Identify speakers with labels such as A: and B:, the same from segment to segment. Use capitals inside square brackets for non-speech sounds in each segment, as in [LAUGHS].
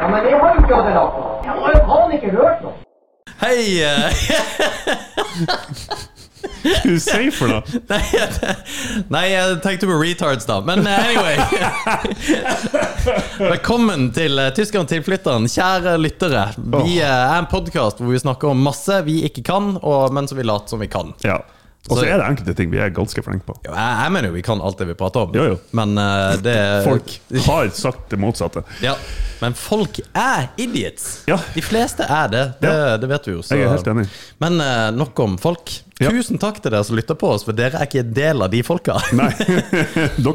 A: Ja, men jeg har jo ikke hatt det lagt. Jeg har jo faen ikke hørt noe.
B: Hei! eh, [LAUGHS]
C: Hva du sier for noe?
B: Nei, jeg- nei, jeg tenkte på retards, da. Men eh,
C: [LAUGHS]
B: anyway Velkommen til eh, Tyskland tilflytteren. Kjære lyttere. Vi eh, er en podkast hvor vi snakker om masse vi ikke kan, og, men som vi later som vi kan.
C: Ja. Og så
B: Så-
C: er det enkelte ting vi er ganske flinke på.
B: Jo, Jeg, jeg mener jo vi kan alt det vi prater om,
C: Jo, jo.
B: men eh, det
C: [LAUGHS] Folk har sagt det motsatte.
B: Ja. Men folk er idiots!
C: Ja.
B: De fleste er det. Det,
C: Ja.
B: det vet vi jo. så-
C: Jeg er helt enig.
B: Men eh, nok om folk.
C: Ja.
B: Tusen takk til dere som lytter på oss, for dere er ikke en del av de folka.
C: Nei, [LAUGHS] dere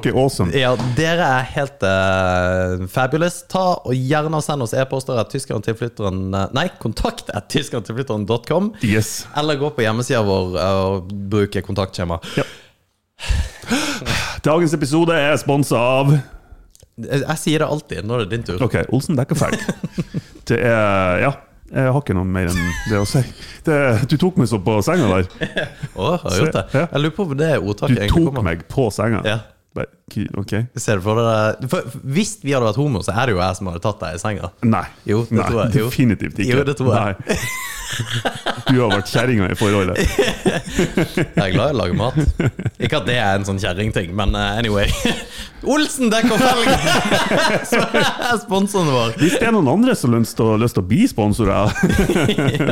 C: er awesome.
B: Ja, dere er helt eh, fabulous. Ta og gjerne send oss e-poster at tyskertilflytteren Nei, kontakt at tyskertilflytteren.com.
C: Yes.
B: Eller gå på hjemmesida vår eh, og bruke kontaktskjema.
C: Ja. Dagens episode er sponsa av
B: Jeg, jeg sier det alltid når det er din tur.
C: Ok, Olsen Dekkerfelg. Det er Ja. Jeg har ikke noe mer enn det å si. Det, du tok meg så på senga der.
B: Å, har jeg gjort det?
C: Ja.
B: Jeg lurer på hvor det
C: Du
B: ordtaket egentlig
C: tok
B: kommer
C: meg på senga.
B: Ja.
C: Bare, "Ki- Ok.
B: Ser du for deg for Hvis vi hadde vært homo, så er det jo jeg som hadde tatt deg i senga.
C: Nei.
B: Jo, det
C: Nei,
B: tror jeg. Jo.
C: Definitivt ikke.
B: Jo, det tror jeg.
C: Nei. Du har vært kjerringa i
B: [LAUGHS]
C: forholdet.
B: Jeg er glad i å lage
C: [LAUGHS]
B: mat. Ikke at det er en sånn kjerringting, men eh, anyway. [LAUGHS] Olsen dekker felg! [LAUGHS] Som er sponsoren vår.
C: Hvis det er noen andre som har lyst til å- lyst til å bli
B: [LAUGHS]
C: sponsorer,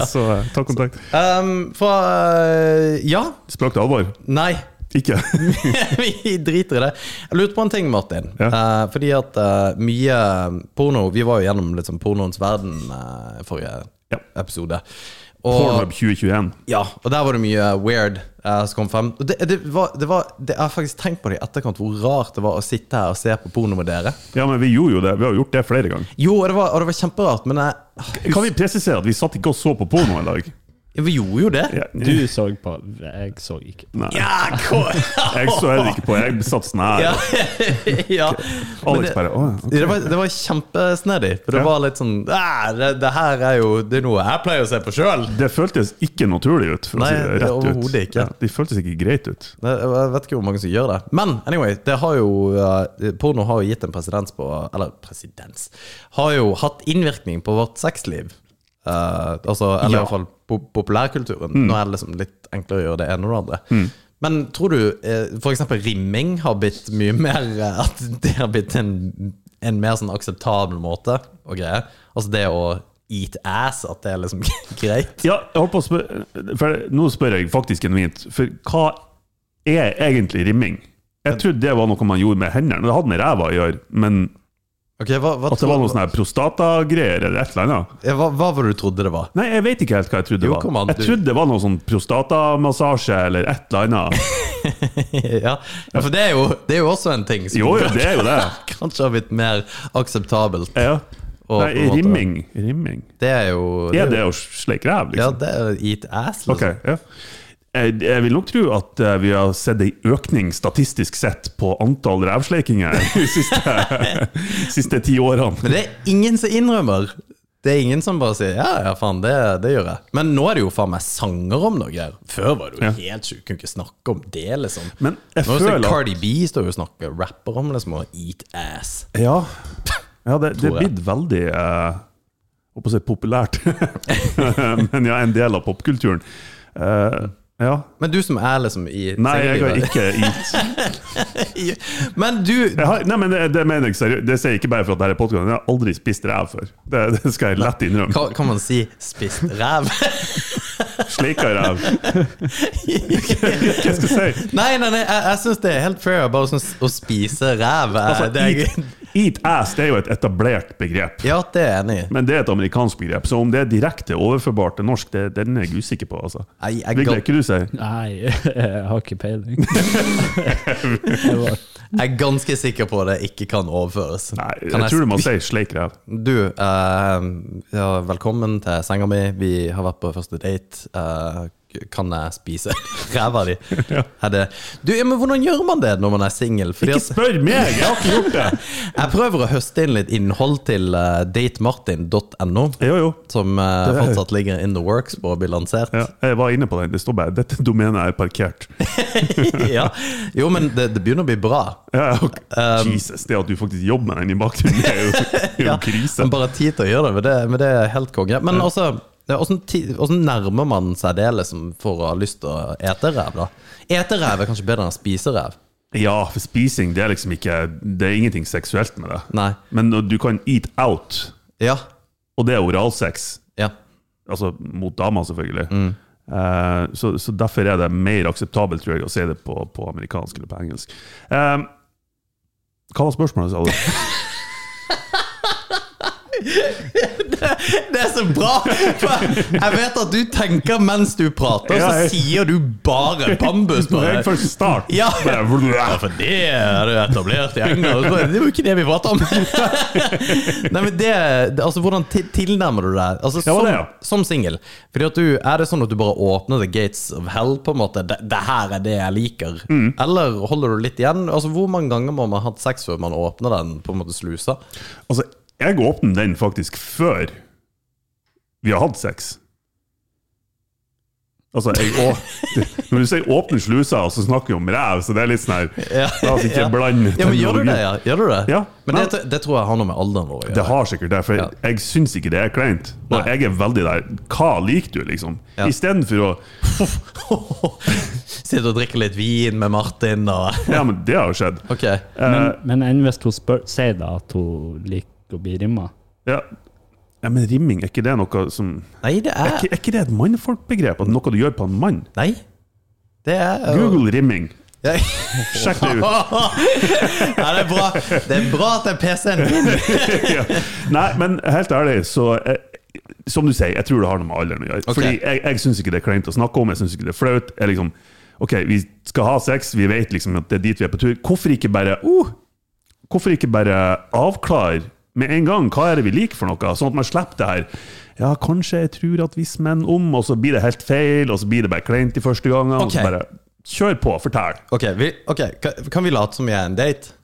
C: så eh, ta kontakt.
B: Um, fra eh, Ja.
C: Språk til alvor?
B: Nei. [LAUGHS]
C: Ikke.
B: vi driter i det. Jeg lurte på en ting, Martin.
C: Ja.
B: Eh, fordi at eh, mye porno Vi var jo gjennom liksom, pornoens verden eh, forrige
C: Ja.
B: episode. Og,
C: Pornhub 2021.
B: Ja, og der var det mye weird eh, som kom frem. Og det, det var, det var, det, jeg har faktisk tenkt på det i etterkant, hvor rart det var å sitte her og se på porno med dere.
C: Ja, men vi gjorde jo det. Vi har jo gjort det flere ganger.
B: Jo, og det var, og det var kjemperart, men jeg,
C: Kan vi presisere at vi satt ikke og så på porno i dag?
B: vi gjorde jo det.
C: Ja.
D: Du så på, jeg så ikke.
C: Nei.
B: Ja, hva-
C: Jeg så heller ikke på. Jeg satt sånn her.
B: ja. ja. [LAUGHS] Men
C: Alex
B: det-
C: bare Å, ok.
B: Det var, det var kjempesnedig. For det
C: Ja.
B: var litt sånn «Æ, det, det her er jo Det er noe jeg pleier å se på sjøl.
C: Det føltes ikke naturlig ut. For
B: Nei,
C: å si det
B: det er
C: rett ut.
B: overhodet ikke.
C: Ja, de føltes ikke greit ut.
B: Jeg vet ikke hvor mange som gjør det. Men anyway, det har jo eh, porno har jo gitt en presedens på Eller presedens Har jo hatt innvirkning på vårt sexliv. Eh, altså, eller i
C: Ja. Mm.
B: hvert fall po populærkulturen. Nå er det liksom litt enklere å gjøre det ene og det andre. Men tror du eh, for f.eks. rimming har blitt mye mer eh, At det har blitt en, en mer sånn akseptabel måte å greie? Altså det å eat ass, at det er liksom [LAUGHS] greit?
C: Ja, jeg holdt på å spørre For nå spør jeg faktisk genuint. For hva er egentlig rimming? Jeg trodde det var noe man gjorde med hendene. Det hadde med ræva å gjøre, men
B: Ok, hva, hva,
C: at det var
B: tror-
C: noe sånn her prostatagreier eller et eller annet.
B: Ja, hva, hva var det du trodde det var?
C: Nei, jeg vet ikke helt hva jeg trodde det
B: Jo,
C: var.
B: kom an,
C: jeg
B: du-
C: trodde det var noe sånn prostatamassasje eller et eller annet.
B: [LAUGHS] ja. ja, for det er, jo, det er jo også en ting som
C: Jo, jo, det er jo det.
B: [LAUGHS] kanskje har blitt mer akseptabelt.
C: Ja.
B: Og på
C: Nei,
B: en måte-
C: rimming. rimming.
B: Det er jo
C: Er det å sleike ræv,
B: Ja,
C: liksom?
B: det er eat ass, liksom.
C: Ok, ja. Jeg, jeg vil nok tro at eh, vi har sett ei økning statistisk sett på antall rævsleikinger de siste,
B: [LAUGHS]
C: siste ti årene.
B: Men det er ingen som innrømmer. Det er ingen som bare sier 'ja, ja, faen, det, det gjør jeg'. Men nå er det jo faen meg sanger om noe her. Før var det jo helt sjukt, kunne ikke snakke om det, liksom.
C: Men
B: nå er
C: jeg
B: det sånn
C: føler at-
B: Cardi B står jo og snakker rapper om liksom å eat ass.
C: Ja,
B: [LAUGHS]
C: ja det, det er
B: Tror jeg.
C: blitt veldig eh, Holdt på å si populært, [LAUGHS] men ja, en del av popkulturen. Eh, ja.
B: Men du som er liksom i
C: Nei, jeg har
B: singellivet-
C: ikke gitt
B: [LAUGHS] Men du,
C: jeg har, Nei, men det, det mener jeg seriøst. Det sier jeg ikke bare for at det er podkast. Jeg har aldri spist ræv før. Det, det skal jeg lett innrømme.
B: kan, kan man si 'spist ræv'?
C: Sleika ræv. Hva skal jeg si?
B: Nei, nei, nei, jeg, jeg syns [LAUGHS] det er helt fair. Bare sånn s- å spise ræv. eh,
C: Altså,
B: det er,
C: eat, Eat ass det er jo et etablert begrep.
B: Ja, det er jeg enig i.
C: Men det er et amerikansk begrep, så om det er direkte overførbart til norsk, det, den er jeg usikker på. altså.
B: Nei, jeg
C: Vigle,
B: ga-
C: ikke du sier?
D: Nei, [LAUGHS] jeg har ikke peiling. Det var-
B: Jeg er ganske sikker på at det ikke kan overføres.
C: Nei, jeg,
B: Kan jeg-
C: tror du må si sleik [LAUGHS] ræv.
B: Du, eh, ja, velkommen til senga mi. Vi har vært på første date. Eh, kan jeg spise [LAUGHS] ræva di? Er det- Du, ja, men hvordan gjør man det når man er singel? Fordi
C: Ikke
B: at-
C: spør meg, jeg har ikke gjort det!
B: Jeg prøver å høste inn litt innhold til eh, datemartin.no,
C: [LAUGHS] Jo, jo.
B: som eh,
C: Det er-
B: fortsatt ligger in the works på å bli lansert.
C: Ja, jeg var inne på den. Det står bare 'dette domenet er parkert'.
B: [LAUGHS] ja. Jo, men det, det begynner å bli bra.
C: Ja,
B: [LAUGHS]
C: ok.
B: Um,
C: Jesus, det at du faktisk jobber med den i bakgrunnen, det er jo, det er jo krise.
B: Men bare tid til å gjøre det, men det, men det er helt konge. Men også, ja, hvordan, ti- hvordan nærmer man seg det liksom, for å ha lyst til å ete ræv, da? Ete ræv er kanskje bedre enn å spise ræv.
C: Ja, for spising det er liksom ikke Det er ingenting seksuelt med det.
B: Nei.
C: Men når du kan eat out,
B: Ja.
C: og det er oralsex,
B: ja.
C: altså mot damer selvfølgelig,
B: Mm.
C: Eh, så, så derfor er det mer akseptabelt, tror jeg, å si det på, på amerikansk eller på engelsk. Eh, hva var spørsmålet, sa du?
B: Det er så bra! For jeg vet at du tenker mens du prater,
C: Ja,
B: så
C: jeg-
B: sier du bare bambus.
C: Det
B: Bare.
C: er først start.
B: Ja. [LAUGHS] Ja,
C: Bare-
B: for det er det etablert i England. og så bare, Det var jo ikke det vi prata
C: [LAUGHS]
B: om! Nei, men det, det altså, Hvordan ti- tilnærmer du deg altså,
C: Ja, hva
B: som,
C: det, ja.
B: som singel? Fordi at du, er det sånn at du bare åpner the gates of hell, på en måte? Det, det her er det jeg liker.
C: Mm.
B: Eller holder du litt igjen? Altså, Hvor mange ganger må man ha hatt sex før man åpner den på en måte slusa?
C: Altså, jeg åpner den faktisk før vi har hatt sex. Altså, jeg, å,
B: [LAUGHS]
C: når du sier åpne slusa, og så snakker vi om ræv, så det er litt sånn her
B: Ja,
C: La oss ikke
B: ja.
C: blande
B: Ja, men Gjør du det?
C: teknologi.
B: ja? Gjør du det?
C: Ja,
B: men
C: men-
B: det, det tror jeg har noe med alderen vår å
C: Det
B: gjøre.
C: har sikkert det, for
B: Ja.
C: jeg syns ikke det er kleint. Og
B: Nei.
C: jeg er veldig der Hva liker du, liksom?
B: Ja.
C: Istedenfor å
B: [LAUGHS] Sitter og drikker litt vin med Martin
C: [LAUGHS]
B: og
C: Ja, men det har jo skjedd.
B: Ok.
D: Men, men enn hvis hun spør, sier da at hun liker å bli rimma?
C: Ja. ja, men rimming, er ikke det noe som
B: Nei, det
C: Er
B: er
C: ikke, er ikke det et mannfolkbegrep? At noe du gjør på en mann?
B: Nei. Det er øh, [LAUGHS]
C: Google rimming.
B: Ja.
C: Sjekk det ut.
B: Nei, det er bra. Det er bra at det er PC-en din. [LAUGHS]
C: ja. Nei, men helt ærlig, så eh, Som du sier, jeg tror det har noe med alderen å gjøre.
B: Ok.
C: Fordi jeg, jeg syns ikke det er kleint å snakke om, jeg syns ikke det er flaut. Jeg liksom, ok, vi skal ha sex, vi vet liksom at det er dit vi er på tur. Hvorfor ikke bare uh, Hvorfor ikke bare avklare med en gang hva er det vi liker for noe, sånn at man slipper det her. Ja, kanskje jeg tror at vi smenner om, og så blir det helt feil, og så blir det bare kleint de første gangene. og
B: Ok.
C: så bare Kjør på, fortell.
B: Ok, vi, ok, ka- kan vi late som vi er en date?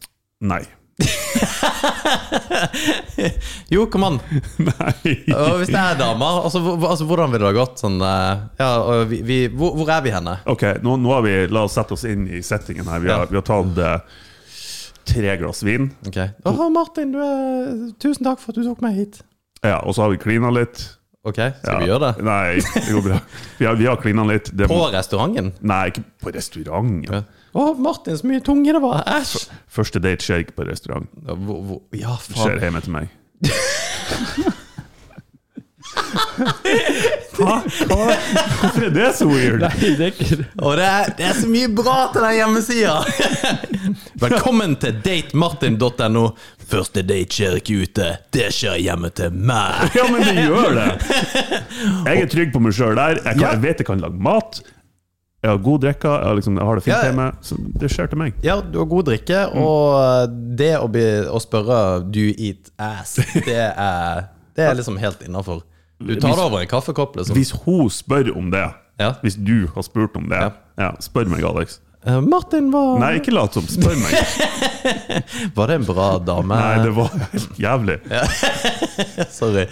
C: Nei. [LAUGHS]
B: Jo, kom an.
C: Nei.
B: Og hvis det er damer, altså, hvor- hvor- altså hvordan ville det ha gått? Sånn, eh, ja, og vi, vi, hvor, hvor er vi henne?
C: Ok, nå, nå har vi La oss sette oss inn i settingen her. Vi har,
B: Ja.
C: vi har tatt eh, tre glass vin,
B: Ok. Åh, Martin, du er, tusen takk for at du tok meg hit.
C: ja, og så har vi klina litt.
B: Ok, skal
C: Ja.
B: vi gjøre det?
C: Nei, det går bra. Vi har, vi har klina litt. Det,
B: På restauranten?
C: Nei, ikke på restaurant.
B: Å, Martin, så mye tunge det var. Æsj!
C: Første date skjer ikke på restaurant.
B: Ja, hvor- hvor- Ja,
C: Det
B: faen.
C: skjer hjemme
B: [LAUGHS]
C: til meg. Hva? Hva? Hvorfor er det så weird?
D: Nei, det er ikke det.
B: Og det er, det er så mye bra til den hjemmesida! [LAUGHS] Velkommen til datemartin.no. Første date skjer ikke ute, det skjer hjemme til meg.
C: Ja, men det gjør
B: [LAUGHS]
C: det! Jeg er trygg på meg sjøl der. Jeg, kan,
B: Ja.
C: jeg vet jeg kan lage mat. Jeg har god drikke, jeg, har liksom, jeg har det fint
B: Ja.
C: hjemme. Så det skjer til meg.
B: Ja, du har god drikke, og eh, det å, bli, å spørre 'do you eat ass', det er, det er liksom helt innafor. Du tar det over en kaffekopp, liksom.
C: Hvis hun spør om det,
B: Ja.
C: hvis du har spurt om det, ja. spør meg, Alex.
B: Eh, Martin, var,
C: Nei, ikke lat som. Spør meg.
B: [LAUGHS] var det en bra dame?
C: Nei, det var helt jævlig. [LAUGHS]
B: Sorry.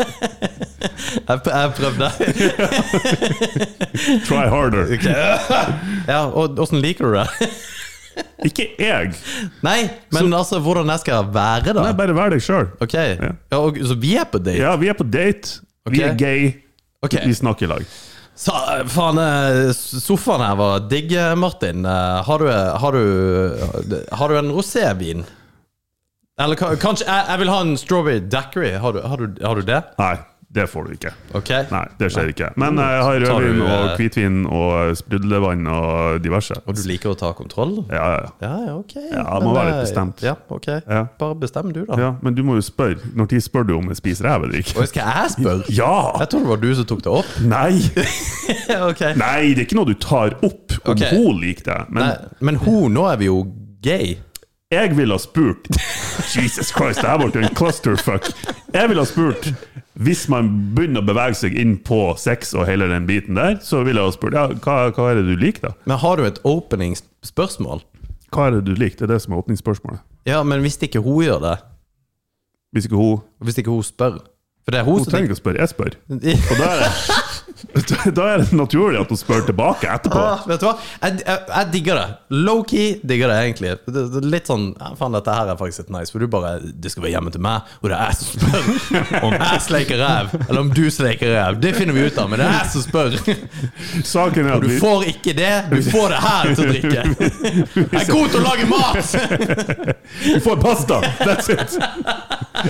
B: jeg, pr- jeg prøvde.
C: Try harder.
B: Ja, og åssen liker du det?
C: Ikke jeg.
B: Nei, men altså, hvordan jeg skal være, da?
C: Nei, bare vær deg sjøl.
B: Ok, ja, og, Så vi er på date?
C: Ja, vi er på date. Vi
B: Ok.
C: er gay.
B: Ok.
C: Vi snakker i lag.
B: Sa, faen, eh, sofaen her var digg, eh, Martin. Eh, Har du, har du, eh, har du en rosévin? Eller ka- kanskje jeg, jeg vil ha en strawberry daiquiri. Har du, har du, har du det?
C: Nei, Det får du ikke.
B: Ok?
C: Nei, det skjer ikke. Men jeg har
B: Tar du,
C: rødvin og
B: eh,
C: hvitvin og sprudlevann og diverse.
B: Og du liker å ta kontroll?
C: Ja, ja, ja.
B: Ja, ja, ok. eh,
C: Ja, det må være litt bestemt.
B: Ja, ok.
C: Ja.
B: Bare bestem du, da.
C: ja, Men du må jo spørre. Når tid spør du om jeg spiser ræv eller ikke?
B: Og skal jeg spørre?
C: Ja!
B: Jeg tror det var du som tok det
C: [LAUGHS]
B: opp.
C: Nei!
B: ok.
C: Nei, det er ikke noe du tar opp om
B: Ok.
C: hun liker det. Men
B: Nei, men hun, nå er vi jo gay.
C: jeg ville ha spurt Jesus Christ, det her ble jo en clusterfuck. Jeg ville ha spurt Hvis man begynner å bevege seg inn på sex og hele den biten der, så ville jeg ha spurt ja, hva, hva er det du liker, da?
B: Men har du et openingsspørsmål?
C: Hva er det du liker? Det er det som er åpningsspørsmålet.
B: Ja, men hvis ikke hun gjør det,
C: Hvis ikke hun
B: og hvis ikke hun spør For det er hun,
C: Hun
B: som
C: trenger ikke å spørre, jeg spør.
B: [LAUGHS] tenker
C: Og da er det, [LAUGHS] da er det naturlig at hun spør tilbake etterpå.
B: Ah, Vet du hva? Jeg, jeg, jeg digger det. Low-key digger det, egentlig. Det, det, er litt sånn ja, Faen, dette her er faktisk litt nice. For du bare Det skal være hjemme til meg, og det er jeg som
C: [LAUGHS]
B: spør om jeg sleiker ræv, eller om du sleiker ræv. Det finner vi ut av, men det er jeg som spør.
C: Saken er at
B: Du
C: vi,
B: får ikke det, du får det her til å
C: [LAUGHS]
B: drikke. Jeg er god til å lage mat!
C: vi får pasta! That's it!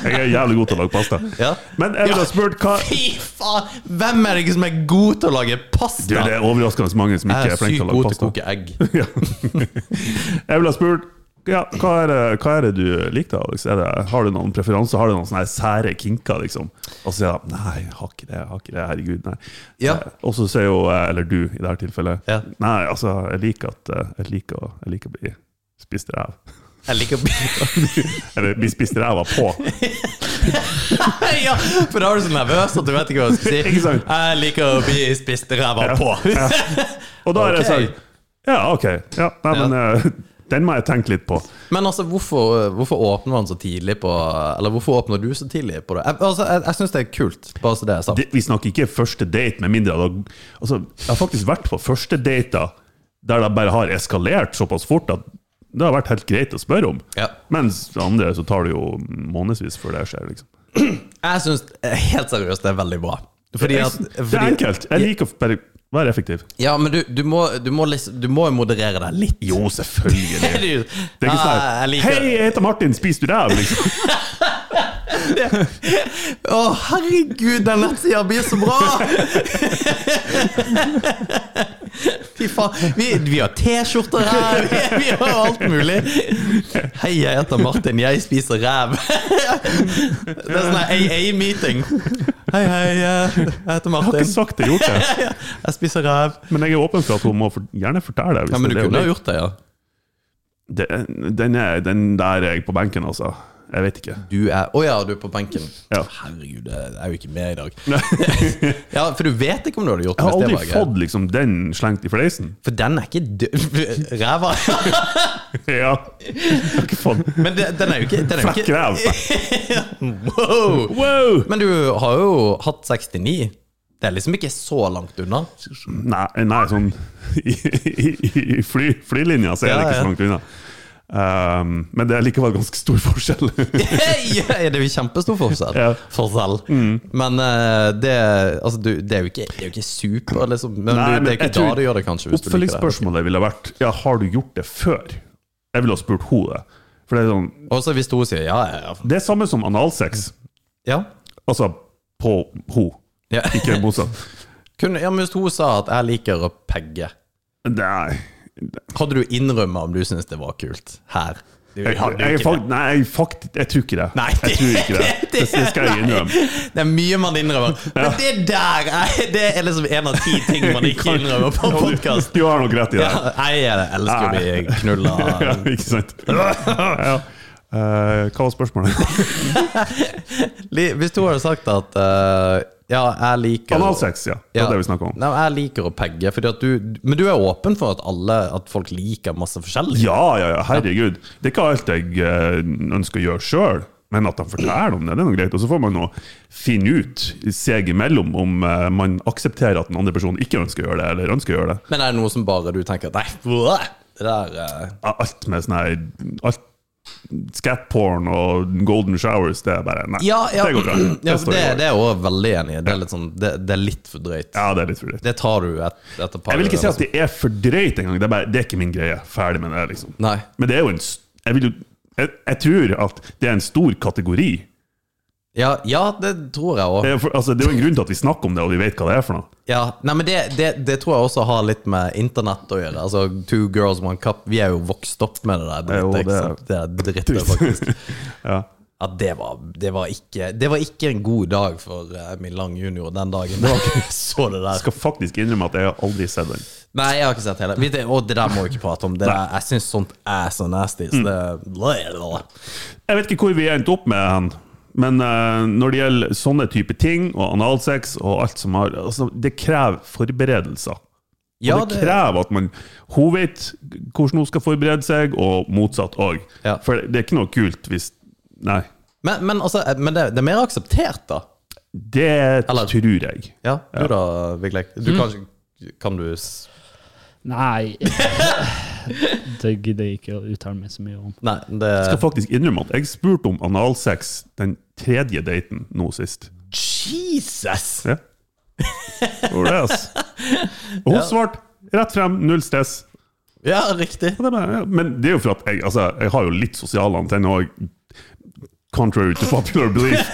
C: Jeg er jævlig god til å lage pasta.
B: Ja.
C: Men jeg ville ha spurt hva
B: Fy faen! Hvem er det ikke som er god til å lage
C: Du,
B: pasta?
C: det er overraskende mange som
B: Jeg
C: ikke
B: er
C: er flinke
B: sykt
C: til å lage
B: god til å
C: [LAUGHS] pasta.
B: koke egg.
C: Ja. Jeg ville ha spurt ja, hva, er det, hva er det du liker, da, Alex? Er det, har du noen preferanser? Har du noen sånne her sære kinker, liksom? Og så sier jeg nei, jeg har ikke det, jeg har ikke det, herregud, nei.
B: Ja.
C: Eh, Og så sier jo jeg, eller du i dette tilfellet,
B: Ja.
C: nei, altså, jeg liker at eh, jeg liker, å- jeg liker å bli spist ræv.
B: Jeg liker
C: Eller bli spist ræva på.
B: ja, for da er du så nervøs at du vet ikke hva du skal si.
C: [LAUGHS] Ikke sant?
B: Jeg liker å bli spist ræva
C: [LAUGHS]
B: på.
C: Og da sånn. har jeg
B: Ok.
C: sagt ja, ok, ja, nei,
B: Ja.
C: men eh, den må jeg tenke litt på.
B: Men altså, hvorfor, hvorfor åpner man så tidlig på Eller hvorfor åpner du så tidlig på det? Jeg, altså, jeg, jeg syns det er kult, bare så det er sagt.
C: det, vi snakker ikke første date, med mindre da, altså, Jeg har faktisk vært på første dater der det bare har eskalert såpass fort at det har vært helt greit å spørre om.
B: Ja.
C: Mens det andre så tar det jo månedsvis før det skjer. liksom.
B: Jeg syns helt seriøst det er veldig bra. Fordi at
C: det er
B: fordi-
C: enkelt. Jeg liker å bare være effektiv.
B: Ja, men du, du, må, du, må, liksom, du må jo moderere deg litt.
C: Jo, selvfølgelig.
B: Det
C: [LAUGHS] Det er ikke
B: [LAUGHS]
C: sånn
B: jeg
C: her,
B: liker
C: Hei, jeg heter Martin, spiser du ræv? Liksom.
B: Å, herregud, den nettsida blir så bra! Fy faen. Vi, vi har T-skjorter her, vi, vi har alt mulig. Hei, jeg heter Martin, jeg spiser ræv. Det er sånn her AA-meeting. Hei, hei, jeg heter
C: Jeg har ikke
B: Martin.
C: sagt jeg har gjort det,
B: Jeg spiser ræv.
C: men jeg er åpen for at hun må for, gjerne fortelle det. hvis
B: Ja, men
C: det
B: du
C: er det hun
B: kunne
C: liker.
B: ha gjort det, ja.
C: Det- Den, er, den der er jeg på benken, altså. Jeg vet ikke.
B: Du er Å ja, du er på benken.
C: Ja.
B: Herregud, jeg er jo ikke med i dag. [LAUGHS] Ja, For du vet ikke om du hadde gjort
C: Jeg
B: det.
C: har
B: hvis det
C: aldri
B: var greit.
C: fått liksom, den slengt i
B: [LAUGHS]
C: fleisen.
B: For den er ikke død Ræva
C: Ja. Ikke faen.
B: Men det, den er jo ikke, den er jo
C: Flekk
B: ikke
C: ræv.
B: wow.
C: Wow!
B: Men du har jo hatt 69 Det er liksom ikke så langt unna
C: Nei, nei sånn I, i, i fly, flylinja så er det
B: Ja,
C: ikke
B: ja.
C: så langt unna. Um, men det er likevel ganske stor
B: [LAUGHS]
C: forskjell.
B: Hei, Det er jo kjempestor forskjell
C: Ja. Mm.
B: Forskjell Men eh, det, altså, du, det er jo ikke, det er jo ikke super liksom. Men,
C: Nei,
B: du, det er jo
C: jeg
B: ikke
C: tror
B: da du gjør det kanskje hvis du liker det.
C: Oppfølgingsspørsmålet ville vært Ja, har du gjort det før? Jeg ville ha spurt henne det. For det er sånn
B: Og så hvis hun sier ja, ja,
C: Det er samme som analsex.
B: ja.
C: Altså på henne,
B: ja. ja.
C: ikke motsatt.
B: [LAUGHS] Kunne, ja, men hvis hun sa at jeg liker å pegge
C: Nei.
B: Hadde du innrømmet om du synes det var kult Her Du
C: Jeg,
B: hadde jo ikke
C: jeg,
B: det.
C: fakt, nei, jeg, fakt, jeg tror ikke det.
B: Nei,
C: jeg tror ikke det.
B: [LAUGHS]
C: Det, det skal jeg innrømme.
B: Det er mye man innrømmer. Men det der er, det er liksom en av ti ting
C: [LAUGHS]
B: man ikke innrømmer på podkast.
C: Du har nok rett i det.
B: Ja, jeg er- jeg elsker å bli knulla.
C: [LAUGHS] ja, ikke sant?
B: [LAUGHS]
C: ja. Eh, hva var spørsmålet? [LAUGHS]
B: Li- Hvis du hadde sagt at eh, Ja, jeg liker
C: Analsex, ja. Det
B: Ja.
C: var det vi snakka om.
B: Nei, jeg liker å pegge, fordi at du, men du er åpen for at alle At folk liker masse forskjellig?
C: Ja, ja, ja, herregud. Det er ikke alt jeg eh, ønsker å gjøre sjøl, men at de forteller om det, det er noe greit. Og så får man nå finne ut seg imellom om eh, man aksepterer at den andre personen ikke ønsker å gjøre det, eller ønsker å gjøre det.
B: Men er det noe som bare du tenker at Nei, bleh, det der eh,
C: Alt med sånn her alt Skatporn og golden showers, det er bare Nei,
B: Ja, [CLEARS THROAT] ja.
C: det går bra.
B: ja
C: står
B: for det,
C: jeg over.
B: det er jeg også veldig enig i. Det, er litt sånn, det, det er litt for drøyt.
C: ja, det er litt for dritt.
B: Det altså. tar du et, etter par
C: Jeg vil ikke si
B: øl,
C: at det er for drøyt engang. Det, er bare- det er ikke min greie. Ferdig med det, liksom.
B: Nei.
C: Men det er jo en s- Jeg, vil jo, jeg, jeg tror at det er en stor kategori
B: Ja, ja det tror jeg òg.
C: Det er, for, altså, det er jo en grunn til at vi snakker om det, og vi vet hva det er for noe.
B: Ja, nei, men det, det, det tror jeg også har litt med internett å gjøre. Altså, Two girls, one cup. Vi er jo vokst opp med det der
C: Ja, jo,
B: drittet.
C: det
B: ikke
C: er-
B: sant? Det er drittet, faktisk.
C: [LAUGHS] Ja.
B: Ja, det var, det, var ikke, det var ikke en god dag for eh, min lang junior den dagen. [LAUGHS] så det
C: Jeg
B: der.
C: skal faktisk innrømme at jeg har aldri sett den.
B: Nei, jeg har ikke sett hele. Vi- Det, og det der må vi ikke prate om. Det der, jeg syns sånt er så nasty.
C: Mm.
B: Så det,
C: Jeg vet ikke hvor vi endte opp med hen, men eh, når det gjelder sånne type ting, og analsex og alt som har altså, Det krever forberedelser. Og
B: ja,
C: det krever at man Hun vet hvordan hun skal forberede seg, og motsatt òg.
B: Ja.
C: For det er ikke noe kult hvis Nei.
B: men, men, altså, eh, men det, det er mer akseptert, da.
C: Det
B: Eller-
C: tror jeg.
B: Ja, du da, Vigleik.
C: Mm.
B: Du kan, kan du s-
D: Nei Det gidder jeg ikke å uttale meg så mye om.
B: Nei, det
C: Jeg skal faktisk innrømme at jeg spurte om analsex den tredje daten nå sist.
B: Jesus! [LAUGHS]
C: Ja. Hvor er det, altså? Og hun svarte rett frem, null stress.
B: Ja, riktig.
C: Og det er bare, ja. Men det er jo for at jeg, altså, jeg har jo litt sosiale antenner òg. Contrary to popular belief.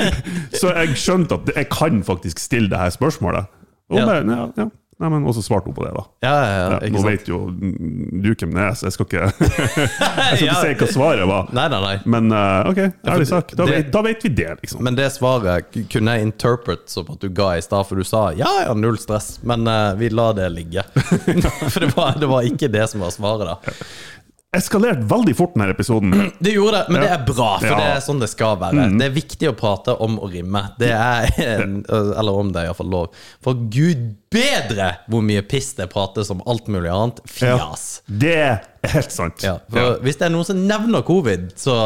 C: [LAUGHS] så jeg skjønte at jeg kan faktisk stille det her spørsmålet. Og,
B: Ja.
C: bare, ja, ja. Nei, men, og så svarte hun på det, da.
B: Ja, ja, ja,
C: Ja,
B: ikke
C: nå
B: sant?
C: vet jo mm, du hvem det er, så jeg skal ikke, [LAUGHS]
B: [LAUGHS]
C: jeg skal ikke si hva svaret var.
B: Nei, nei, nei.
C: Men eh, OK, ærlig sak. Da,
B: det-
C: vet, da vet vi det, liksom.
B: Men det svaret k- kunne jeg interpret som at du ga i stad, for du sa ja, ja, null stress, men eh, vi la det
C: [LAUGHS]
B: ligge. for det var, det var ikke det som var svaret, da.
C: Eskalert veldig fort, denne episoden.
B: Det gjorde det, men det er bra, for
C: Ja. Mm.
B: det er sånn det skal være. Det er viktig å prate om å rimme. Det
C: [LAUGHS]
B: er en, Eller om det er iallfall lov. For gud bedre hvor mye piss det prates om alt mulig annet.
C: Ja.
B: Fjas.
C: Det er helt sant.
B: Ja, for Hvis det er noen som nevner covid, så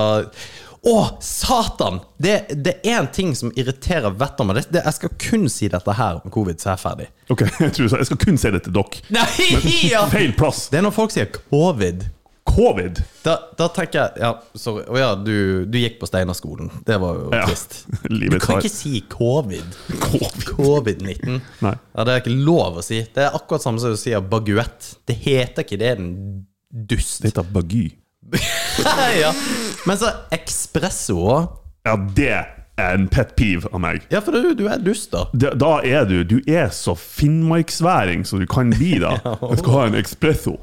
B: Å, satan! Det, det er én ting som irriterer vettet av meg. Det, det, jeg skal kun si dette her om covid, så er jeg
C: [LAUGHS]
B: ferdig.
C: Ok, jeg, tror, så- jeg skal kun si det til dere.
B: Nei, ja.
C: Feil plass.
B: Det er når folk sier covid.
C: Covid. [LAUGHS]
B: Da, da tenker jeg Ja, sorry. Å ja, du, du gikk på Steinerskolen. Det var jo
C: Ja.
B: trist. Du
C: [LAUGHS] Livet
B: kan
C: tar
B: ikke si covid.
C: Covid.
B: Covid-19.
C: [LAUGHS] Nei.
B: Ja, det er ikke lov å si. Det er akkurat samme som du sier baguett. Det heter ikke det, den dust.
C: Det heter bagy.
B: [LAUGHS] ja. Men så espresso òg.
C: Ja, det er en pet peeve av meg.
B: Ja, for du, du er dust, da.
C: Da da er du Du er så finnmarksværing som du kan bli,
B: [LAUGHS]
C: da. Jeg skal ha en espresso.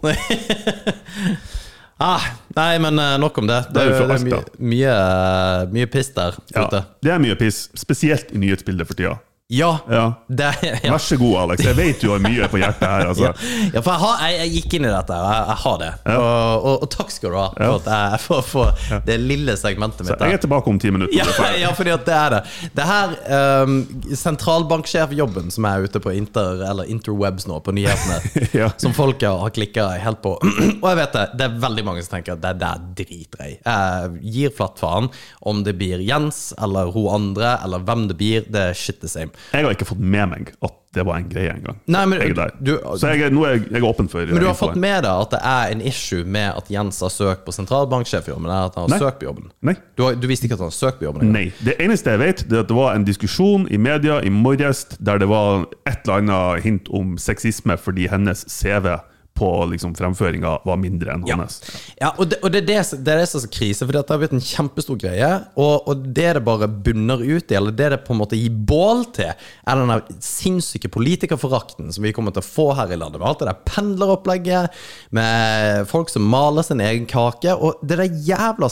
B: Ah, nei, men eh, nok om det. Det,
C: er jo fra
B: det er mye,
C: Alta.
B: mye, eh, mye piss der
C: Ja,
B: ute.
C: det er mye piss, spesielt i nyhetsbildet for tida.
B: Ja.
C: Ja.
B: Det, [LAUGHS] ja.
C: Vær så god, Alex. Jeg vet du har mye på hjertet her. Altså.
B: [LAUGHS] Ja. ja, for jeg, har, jeg, jeg gikk inn i dette, og jeg, jeg har det. Og, og, og takk skal du ha for at jeg, jeg får, får det lille segmentet mitt.
C: Jeg er
B: der.
C: tilbake om ti minutter.
B: Ja, [LAUGHS]
C: Det er ferdig.
B: ja, fordi at det er det. Det her ehm, sentralbanksjefjobben som er ute på inter, eller interwebs nå, på [LAUGHS] nyhetene,
C: Ja.
B: som folk har klikka helt på [CLEARS THROAT] Og jeg vet det, det er veldig mange som tenker at det der driter jeg i. Jeg gir flatt faen om det blir Jens eller hun andre, eller hvem det blir. Det er shit the same.
C: Jeg har ikke fått med meg at det var en greie engang.
B: Nei, men-
C: Jeg er der.
B: du-
C: så jeg, er- nå er jeg, jeg er åpen for
B: Men du har fått med deg at det er en issue med at Jens har søkt på sentralbanksjefjobben? Eller at han har
C: Nei.
B: søkt på jobben?
C: Nei.
B: Du, har, du visste ikke at han har søkt på jobben? engang?
C: Nei. Det eneste jeg vet, det er at det var en diskusjon i media i morges der det var et eller annet hint om sexisme fordi hennes CV på liksom, fremføringa var mindre enn hans.
B: Ja, og det, og det, er det, som- det er det som er krise, for dette har blitt en kjempestor greie. Og, og det det bare bunner ut i, eller det det på en måte gir bål til, er den der sinnssyke politikerforakten som vi kommer til å få her i landet. Med alt det der pendleropplegget, med folk som maler sin egen kake. Og det der jævla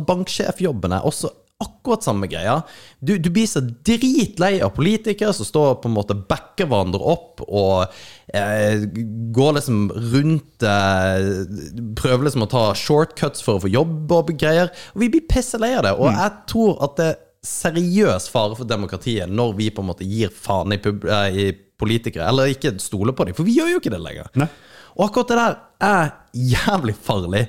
B: sentralbanksjefjobben er også akkurat samme greia. Du, du blir så dritlei av politikere som står og på en måte backer hverandre opp og eh, går liksom rundt eh, Prøver liksom å ta shortcuts for å få jobb og greier. Og vi blir pisselei av det. Og jeg tror at det er seriøs fare for demokratiet når vi på en måte gir faen i, pub eh, i politikere, eller ikke stoler på dem. For vi gjør jo ikke det lenger.
C: Nei.
B: Og akkurat det der er jævlig farlig.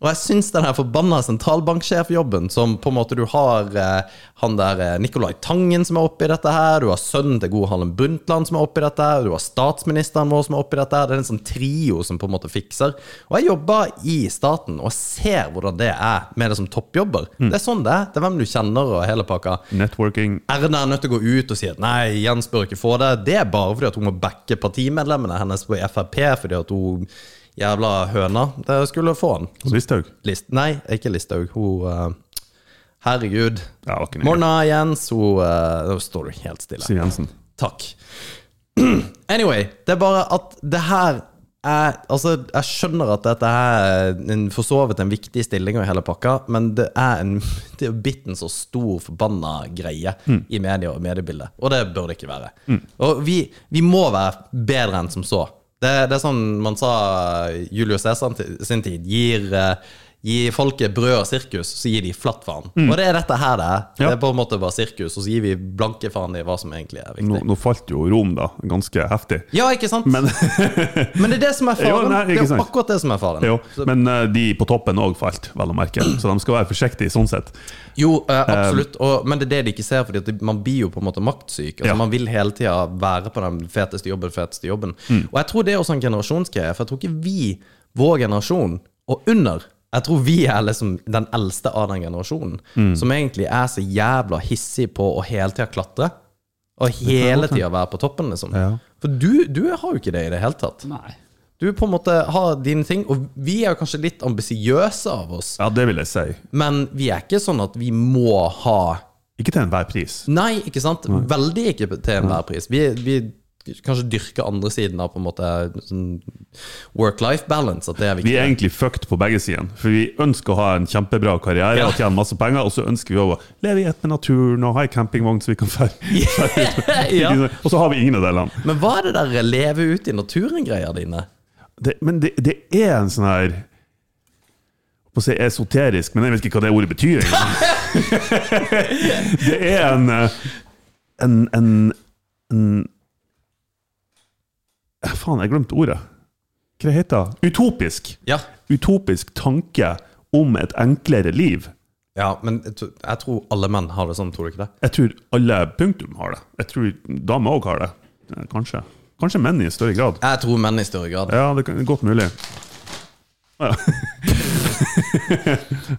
B: Og jeg syns den her forbanna sentralbanksjefjobben som på en måte du har eh, han der eh, Nicolai Tangen som er oppi dette her, du har sønnen til Gro Harlem Brundtland som er oppi dette her, du har statsministeren vår som er oppi dette her. Det er en sånn trio som på en måte fikser. Og jeg jobber i staten og ser hvordan det er med det som toppjobber. Det er sånn det er. Det er hvem du kjenner og hele pakka.
C: Networking
B: Erna er nødt til å gå ut og si at nei, Jens bør ikke få det. Det er bare fordi at hun må backe partimedlemmene hennes på Frp fordi at hun jævla høna det skulle få han.
C: Listhaug.
B: List, nei, ikke Listhaug. Hun eh, Herregud.
C: Ja, det var ikke noe.
B: Morna, Jens. Hun eh, Nå står du helt stille.
C: Siv Jensen.
B: Takk. Anyway, det er bare at det her er Altså, jeg skjønner at dette er en, for så vidt en viktig stilling og hele pakka, men det er en [LAUGHS] Det er jo blitt en så stor forbanna greie
C: Mm.
B: i media og mediebildet, og det bør det ikke være. Og vi, vi må være bedre enn som så. Det, det er sånn man sa Julius Cæsar til sin tid. Gir, eh, gir folket brød og sirkus, så gir de flatt faen. Og det er dette her det er. Det
C: Mm. Ja.
B: er på en måte bare sirkus, og så gir vi blanke faen i hva som egentlig er viktig.
C: Nå, nå falt jo Rom, da. Ganske heftig.
B: Ja, ikke sant? Men,
C: Men, [LAUGHS]
B: det er det som er faren.
C: Jo, nei, ikke
B: det er jo
C: sant.
B: akkurat det som er faren.
C: jo, men eh, de på toppen òg falt, vel å merke. Så de skal være forsiktige sånn sett.
B: Jo, eh, absolutt. Og, men det er det de ikke ser, Fordi at de- man blir jo på en måte maktsyk. Altså,
C: Ja.
B: Man vil hele tida være på den feteste jobben, feteste jobben.
C: Mm.
B: Og jeg tror det er også en generasjonsgreie, for jeg tror ikke vi, vår generasjon, og under jeg tror vi er liksom den eldste av den generasjonen,
C: Mm.
B: som egentlig er så jævla hissig på å hele tida klatre. Og hele tida være på toppen, liksom.
C: Ja.
B: For du, du har jo ikke det i det hele tatt.
D: Nei.
B: Du på en måte har dine ting, og vi er jo kanskje litt ambisiøse av oss,
C: Ja, det vil jeg si.
B: men vi er ikke sånn at vi må ha
C: Ikke til enhver pris.
B: Nei, ikke sant? Veldig ikke til enhver pris. Vi, vi kanskje dyrker andre siden av på en måte sånn work-life balance, at det er
C: Vi
B: viktig.
C: er egentlig fucked på begge sider. For vi ønsker å ha en kjempebra karriere
B: Ja.
C: og tjene masse penger, og så ønsker vi også å leve i ett med naturen og ha ei campingvogn så vi kan ferde.
B: [LAUGHS] Ja.
C: Og så har vi ingen av delene.
B: Men hva er det der leve ut i naturen-greia dine?
C: Det, men det, det er en sånn her på å si esoterisk, men jeg vet ikke hva det ordet betyr. egentlig. [LAUGHS] det er en eh, en, en, en Eh, Faen, jeg glemte ordet. Hva heter det? Utopisk.
B: Ja.
C: Utopisk tanke om et enklere liv.
B: ja, men jeg tror- jeg tror alle menn har det sånn, tror du ikke det?
C: Jeg tror alle punktum har det. Jeg tror damer òg har det. Eh, Kanskje. Kanskje menn i større grad.
B: Jeg tror menn i større grad.
C: Ja, det kan godt mulig. Ja.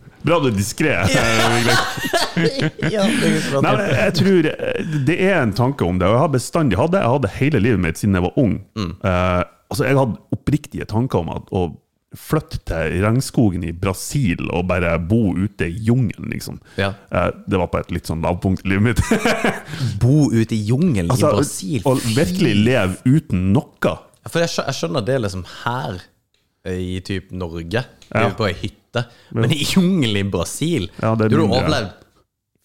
C: [LAUGHS] Bra du er diskré. eh,
B: Ja, det er
C: Nei, men jeg tror eh, Det er en tanke om det, og jeg har bestandig hatt det. Jeg hadde hele livet mitt siden jeg var ung.
B: Mm.
C: Eh, altså, jeg hadde oppriktige tanker om at, å flytte til regnskogen i Brasil og bare bo ute i jungelen, liksom.
B: Ja.
C: Eh, det var på et litt sånn lavpunkt
B: [LAUGHS]
C: i livet mitt.
B: Bo ute i jungelen
C: [LAUGHS] Altså,
B: i Brasil.
C: Å virkelig leve uten noe.
B: Ja, For jeg, skjø- jeg skjønner det er liksom her eh, i typ Norge. Du er
C: Ja.
B: på ei hytte. Men i jungelen i Brasil
C: Ja, det er
B: Du har
C: mindre.
B: overlevd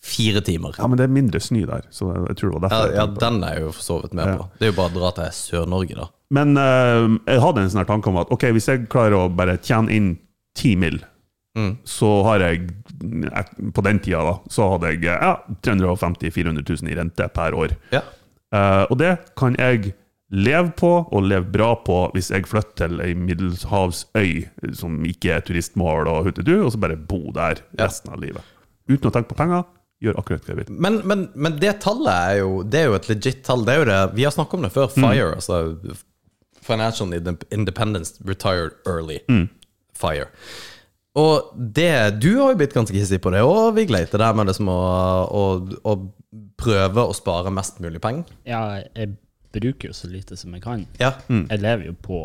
B: fire timer.
C: Ja, men det er mindre snø der, så jeg tror det var
B: Ja,
C: derfor. jeg
B: ja,
C: tenkte på det.
B: den er jeg jo for så vidt med på. Det er jo bare å dra til Sør-Norge, da.
C: Men eh, jeg hadde en sånn her tanke om at ok, hvis jeg klarer å bare tjene inn 10 mil,
B: Mm.
C: så har jeg jeg- på den tida da, så hadde jeg eh, ja, 350 000-400 000 i rente per år.
B: Ja.
C: Eh, og det kan jeg leve på og leve bra på hvis jeg flytter til ei middelhavsøy som ikke er turistmål og huttedu, og så bare bo der resten av livet. Uten å tenke på penger. Gjør akkurat hva jeg vil.
B: Men, men, men det tallet er jo Det er jo et legit tall. Det er jo det, vi har snakket om det før. Fire, altså Financial Inde- Independence Retired Early. Fire. Og det, du har jo blitt ganske hissig på det òg, Vigleid. Det der med liksom å, å, å prøve å spare mest mulig penger.
D: Ja, jeg bruker jo så lite som jeg kan.
B: Ja.
D: Jeg lever jo på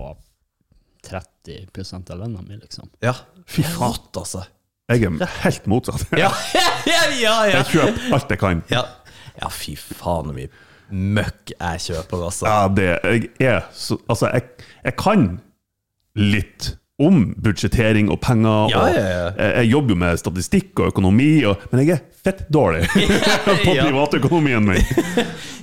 D: 30 av lønna mi, liksom.
B: ja. Fy faen, altså.
C: Jeg er helt motsatt.
B: Ja, [LAUGHS] ja, ja. ja.
C: [LAUGHS] Jeg kjøper alt jeg kan.
B: ja. ja fy faen, vi møkk jeg kjøper, altså.
C: Ja, det Jeg er så Altså, jeg, jeg kan litt om budsjettering og penger.
B: Ja,
C: og
B: ja, ja.
C: Jeg, jeg jobber jo med statistikk og økonomi, og, men jeg er fett
B: [LAUGHS]
C: dårlig [LAUGHS] på
B: Ja.
C: privatøkonomien
B: [LAUGHS]
C: min.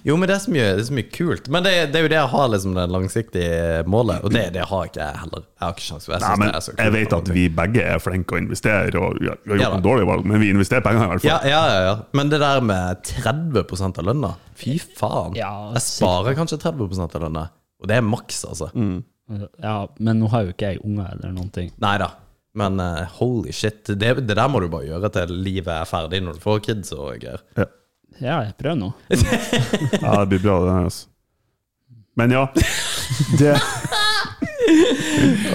B: Jo, men det er så mye, det er så mye kult. Men det, det er jo det jeg har, liksom, det langsiktige målet. Og det, det har ikke jeg heller. Jeg har ikke sjans. Jeg,
C: Nei,
B: synes
C: men
B: det er så kult.
C: jeg vet at vi begge er flinke å investere, og vi har vi
B: Ja
C: har gjort
B: da.
C: noen dårlige valg, men vi investerer penger i hvert
B: ja,
C: fall.
B: ja, ja, ja. Men det der med 30 av lønna, fy faen.
D: Ja,
B: jeg sparer kanskje 30 av lønna. Og det er maks, altså.
C: Mm.
D: Ja, men nå har jo ikke jeg unger eller noen ting.
B: Nei da. Men eh, holy shit, det, det der må du bare gjøre til livet er ferdig, når du får kids og greier.
D: Ja, jeg prøver nå.
C: Ja, det blir bra, det her, altså. Men
B: [LAUGHS]
C: ja. Det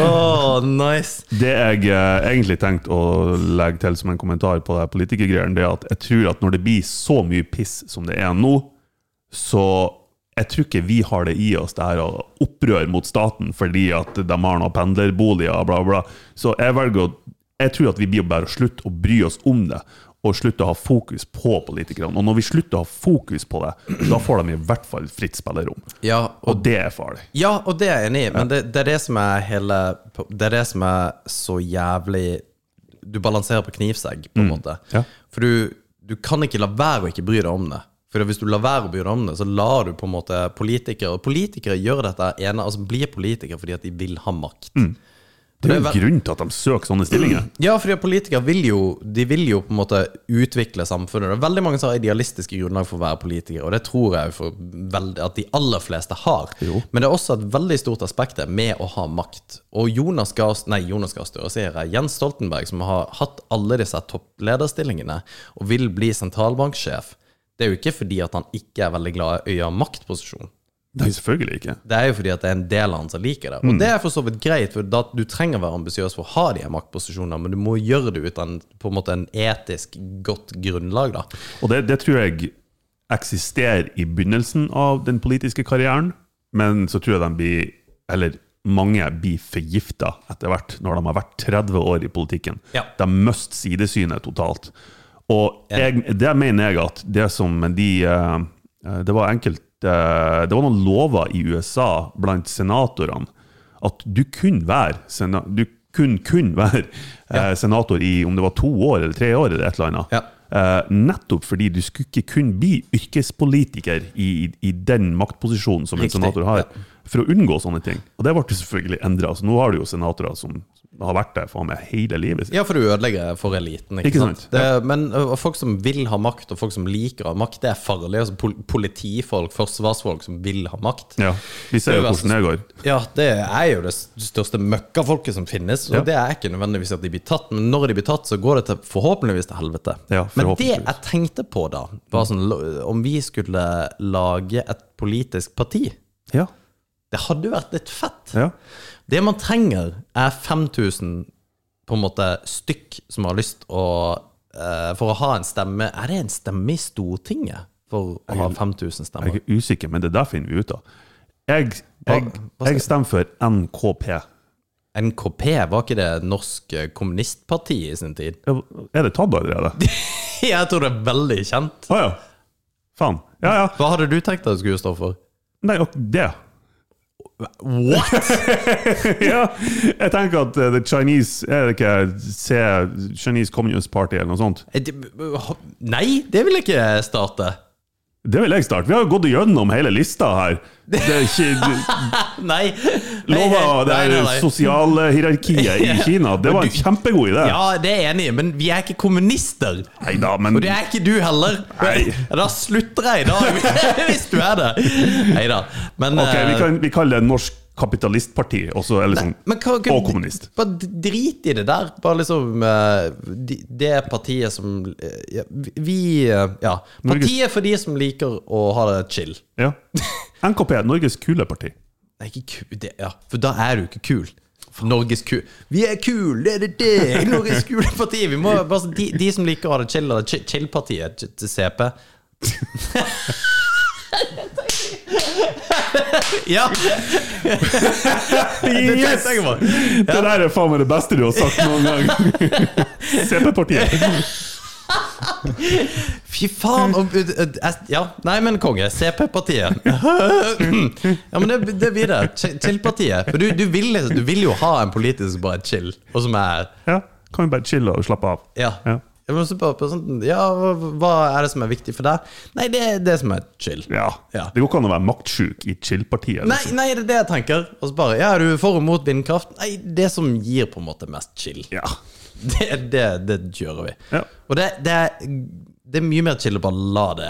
B: Åh, nice.
C: Det jeg eh, egentlig tenkte å legge til som en kommentar på det her politikergreiene, det er at jeg tror at når det blir så mye piss som det er nå, så jeg tror ikke vi har det i oss det her å opprøre mot staten fordi at de har noen pendlerboliger og bla, bla. Så jeg velger å Jeg tror at vi blir bare å slutte å bry oss om det. og slutte å ha fokus på politikerne. Og når vi slutter å ha fokus på det, da får de i hvert fall fritt spillerom.
B: Ja, og
C: Og det er farlig.
B: Ja, og det er jeg enig i, men det, det er det som er hele Det er det som er så jævlig Du balanserer på knivsegg, på en måte.
C: Ja.
B: For du, du kan ikke la være å ikke bry deg om det. For hvis du lar være å bry deg om det, så lar du på en måte politikere Og politikere gjør dette ene, altså blir politikere fordi at de vil ha makt.
C: Det er jo
B: vel-
C: en grunn til at de søker sånne stillinger.
B: Ja, fordi at politikere vil jo De vil jo på en måte utvikle samfunnet. Det er veldig mange som har idealistiske grunnlag for å være politikere, og det tror jeg for veldig, at de aller fleste har. Men det er også et veldig stort aspekt der med å ha makt. Og Jonas Gahr Nei, Jonas Gahr Støre, sier jeg. Jens Stoltenberg, som har hatt alle disse topplederstillingene, og vil bli sentralbanksjef, det er jo ikke fordi at han ikke er veldig glad i å ha maktposisjon.
C: Nei, selvfølgelig ikke.
B: Det er jo fordi at det er en del av han som liker det. Og det er for så vidt greit, for da, du trenger å være ambisiøs for å ha de her maktposisjonene, men du må gjøre det ut av en, på en måte en etisk godt grunnlag, da.
C: Og det, det tror jeg eksisterer i begynnelsen av den politiske karrieren, men så tror jeg de blir, eller mange blir forgifta etter hvert, når de har vært 30 år i politikken.
B: Ja.
C: De mister sidesynet totalt. Og jeg, det mener jeg at det som de eh, eh, Det var enkelt eh, Det var noen lover i USA blant senatorene at du kunne være sena, Du kun, kun være eh, senator i om det var to år eller tre år eller et eller annet.
B: Ja.
C: Eh, nettopp fordi du skulle ikke kun bli yrkespolitiker i, i, i den maktposisjonen som
B: Riktig,
C: en senator har, for å unngå sånne ting. Og det ble jo selvfølgelig endra. Så nå har du jo senatorer som har vært der faen meg hele livet sitt.
B: Ja, for du ødelegger for eliten, ikke,
C: Ikke sant?
B: sant? Det, Men ø, og folk som vil ha makt, og folk som liker å ha makt, det er farlig. Altså, pol politifolk, forsvarsfolk som vil ha makt.
C: Ja. Vi ser
B: Det er
C: jo
B: jo
C: hvordan det går.
B: Ja, det er jo det største møkkafolket som finnes, og
C: Ja.
B: det er ikke nødvendigvis at de blir tatt, men når de blir tatt, så går det til, forhåpentligvis til helvete. men
C: Ja,
B: det
C: forhåpentligvis.
B: jeg tenkte på da, var sånn, lo- om vi skulle lage et politisk parti,
C: Ja.
B: det hadde jo vært litt fett.
C: Ja.
B: Det man trenger er 5000 på en måte stykk som har lyst å, eh, for å ha en stemme. Er det en stemme i Stortinget for å ha 5000 stemmer?
C: Jeg er usikker, men det der finner vi ut av. Jeg,
B: Hva-
C: jeg,
B: hva sier du?
C: jeg stemmer for NKP.
B: NKP, var ikke det norsk eh, kommunistparti i sin tid?
C: Er det tatt allerede?
B: [LAUGHS] Jeg tror det er veldig kjent.
C: Å ja. Faen. Ja, ja.
B: Hva hadde du tenkt at det skulle stå for?
C: Nei, og det.
B: What?!
C: [LAUGHS] Ja, jeg tenker at eh, The Chinese Er det ikke C, Chinese Communist Party eller noe sånt?
B: Nei, det vil jeg ikke starte.
C: Det vil jeg starte. Vi har jo gått gjennom hele lista her. Det er
B: [LAUGHS]
C: ikke
B: Nei.
C: Lova det
B: Nei,
C: er
B: nei, nei.
C: sosiale
B: [LAUGHS]
C: hierarkiet i Kina. Det var en kjempegod idé.
B: Ja, det er jeg enig, i, men vi er ikke kommunister.
C: Nei da, men
B: Og det er ikke du heller.
C: Nei.
B: Da slutter jeg i dag, [LAUGHS] hvis du er det. Nei da. Men,
C: Ok, vi,
B: eh,
C: kan, vi kaller det Norsk Kapitalistparti også, eller sånn.
B: men hva- hva-
C: og kommunist.
B: Bare drit i det der. Bare liksom eh, de- Det partiet som eh, ja, Vi eh, Ja.
C: Norges-
B: Partiet for de som liker å ha det chill. [LAUGHS]
C: Ja. NKP, Norges kule parti.
B: Nei, ikke kul det, ja. For da er du ikke kul. For Norges kul Vi er kule, det er det det! Norges kule parti! Vi må, bare, de, de som liker å ha det chill, eller chi- chill-partiet chi- til CP [LAUGHS] Ja! Det
C: Yes!
B: tenkte jeg på.
C: Det der er faen meg det beste du har sagt noen
B: [LAUGHS]
C: gang. CP-partiet.
B: Fy faen! Og, ja, nei, men konge. CP-partiet. [LAUGHS] Ja, men det, det blir det. Chi- Chill-partiet. For du, du, vil, du vil jo ha en politisk som bare er chill, og som er
C: Ja, kan vi bare chille og slappe av?
B: Ja.
C: Ja.
B: Jeg må også bare på sånn, ja, hva- hva er det som er viktig for deg? Nei, det er det som er chill.
C: Ja.
B: Ja.
C: Det går ikke an å være maktsjuk i chill-partiet.
B: Nei,
C: liksom.
B: nei, det er det jeg tenker. Og så bare, ja, er du for og mot vindkraft? Nei, det som gir på en måte mest chill.
C: Ja.
B: [LAUGHS] Det, det, det kjører vi.
C: Ja.
B: Og det, det, er, det er mye mer chill å bare la det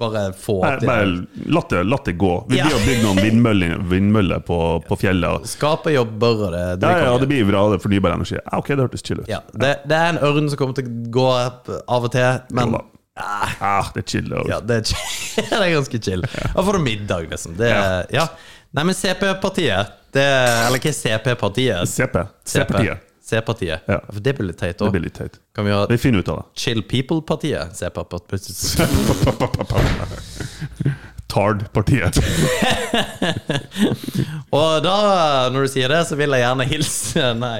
B: Bare få
C: Nei,
B: opp det.
C: bare la det, la det gå. Vi
B: Ja.
C: blir å bygge noen vindmøller, vindmøller på, på fjellet.
B: Skape jobber og det. det
C: Ja, ja,
B: konge.
C: det blir bra, det er fornybar energi. Ja, ok, det hørtes chill ut.
B: ja, det, det er en ørn som kommer til å gå opp av og til, men
C: Jo da. Ah, det er chill. og-
B: Ja, det er, chill. [LAUGHS] det er ganske chill. Da får du middag, liksom. Det,
C: Ja.
B: er- ja. Nei, men CP-partiet det, er- Eller ikke CP-partiet.
C: CP. CP-partiet.
B: C-partiet.
C: Ja.
B: For det blir litt teit
C: Det
B: òg.
C: blir litt teit.
B: Kan vi ha
C: Vi finner ut av det.
B: Chill People-partiet? CP-partiet [LAUGHS]
C: Tard-partiet.
B: Og da, når du sier det, så vil jeg gjerne [LAUGHS] hilse Nei.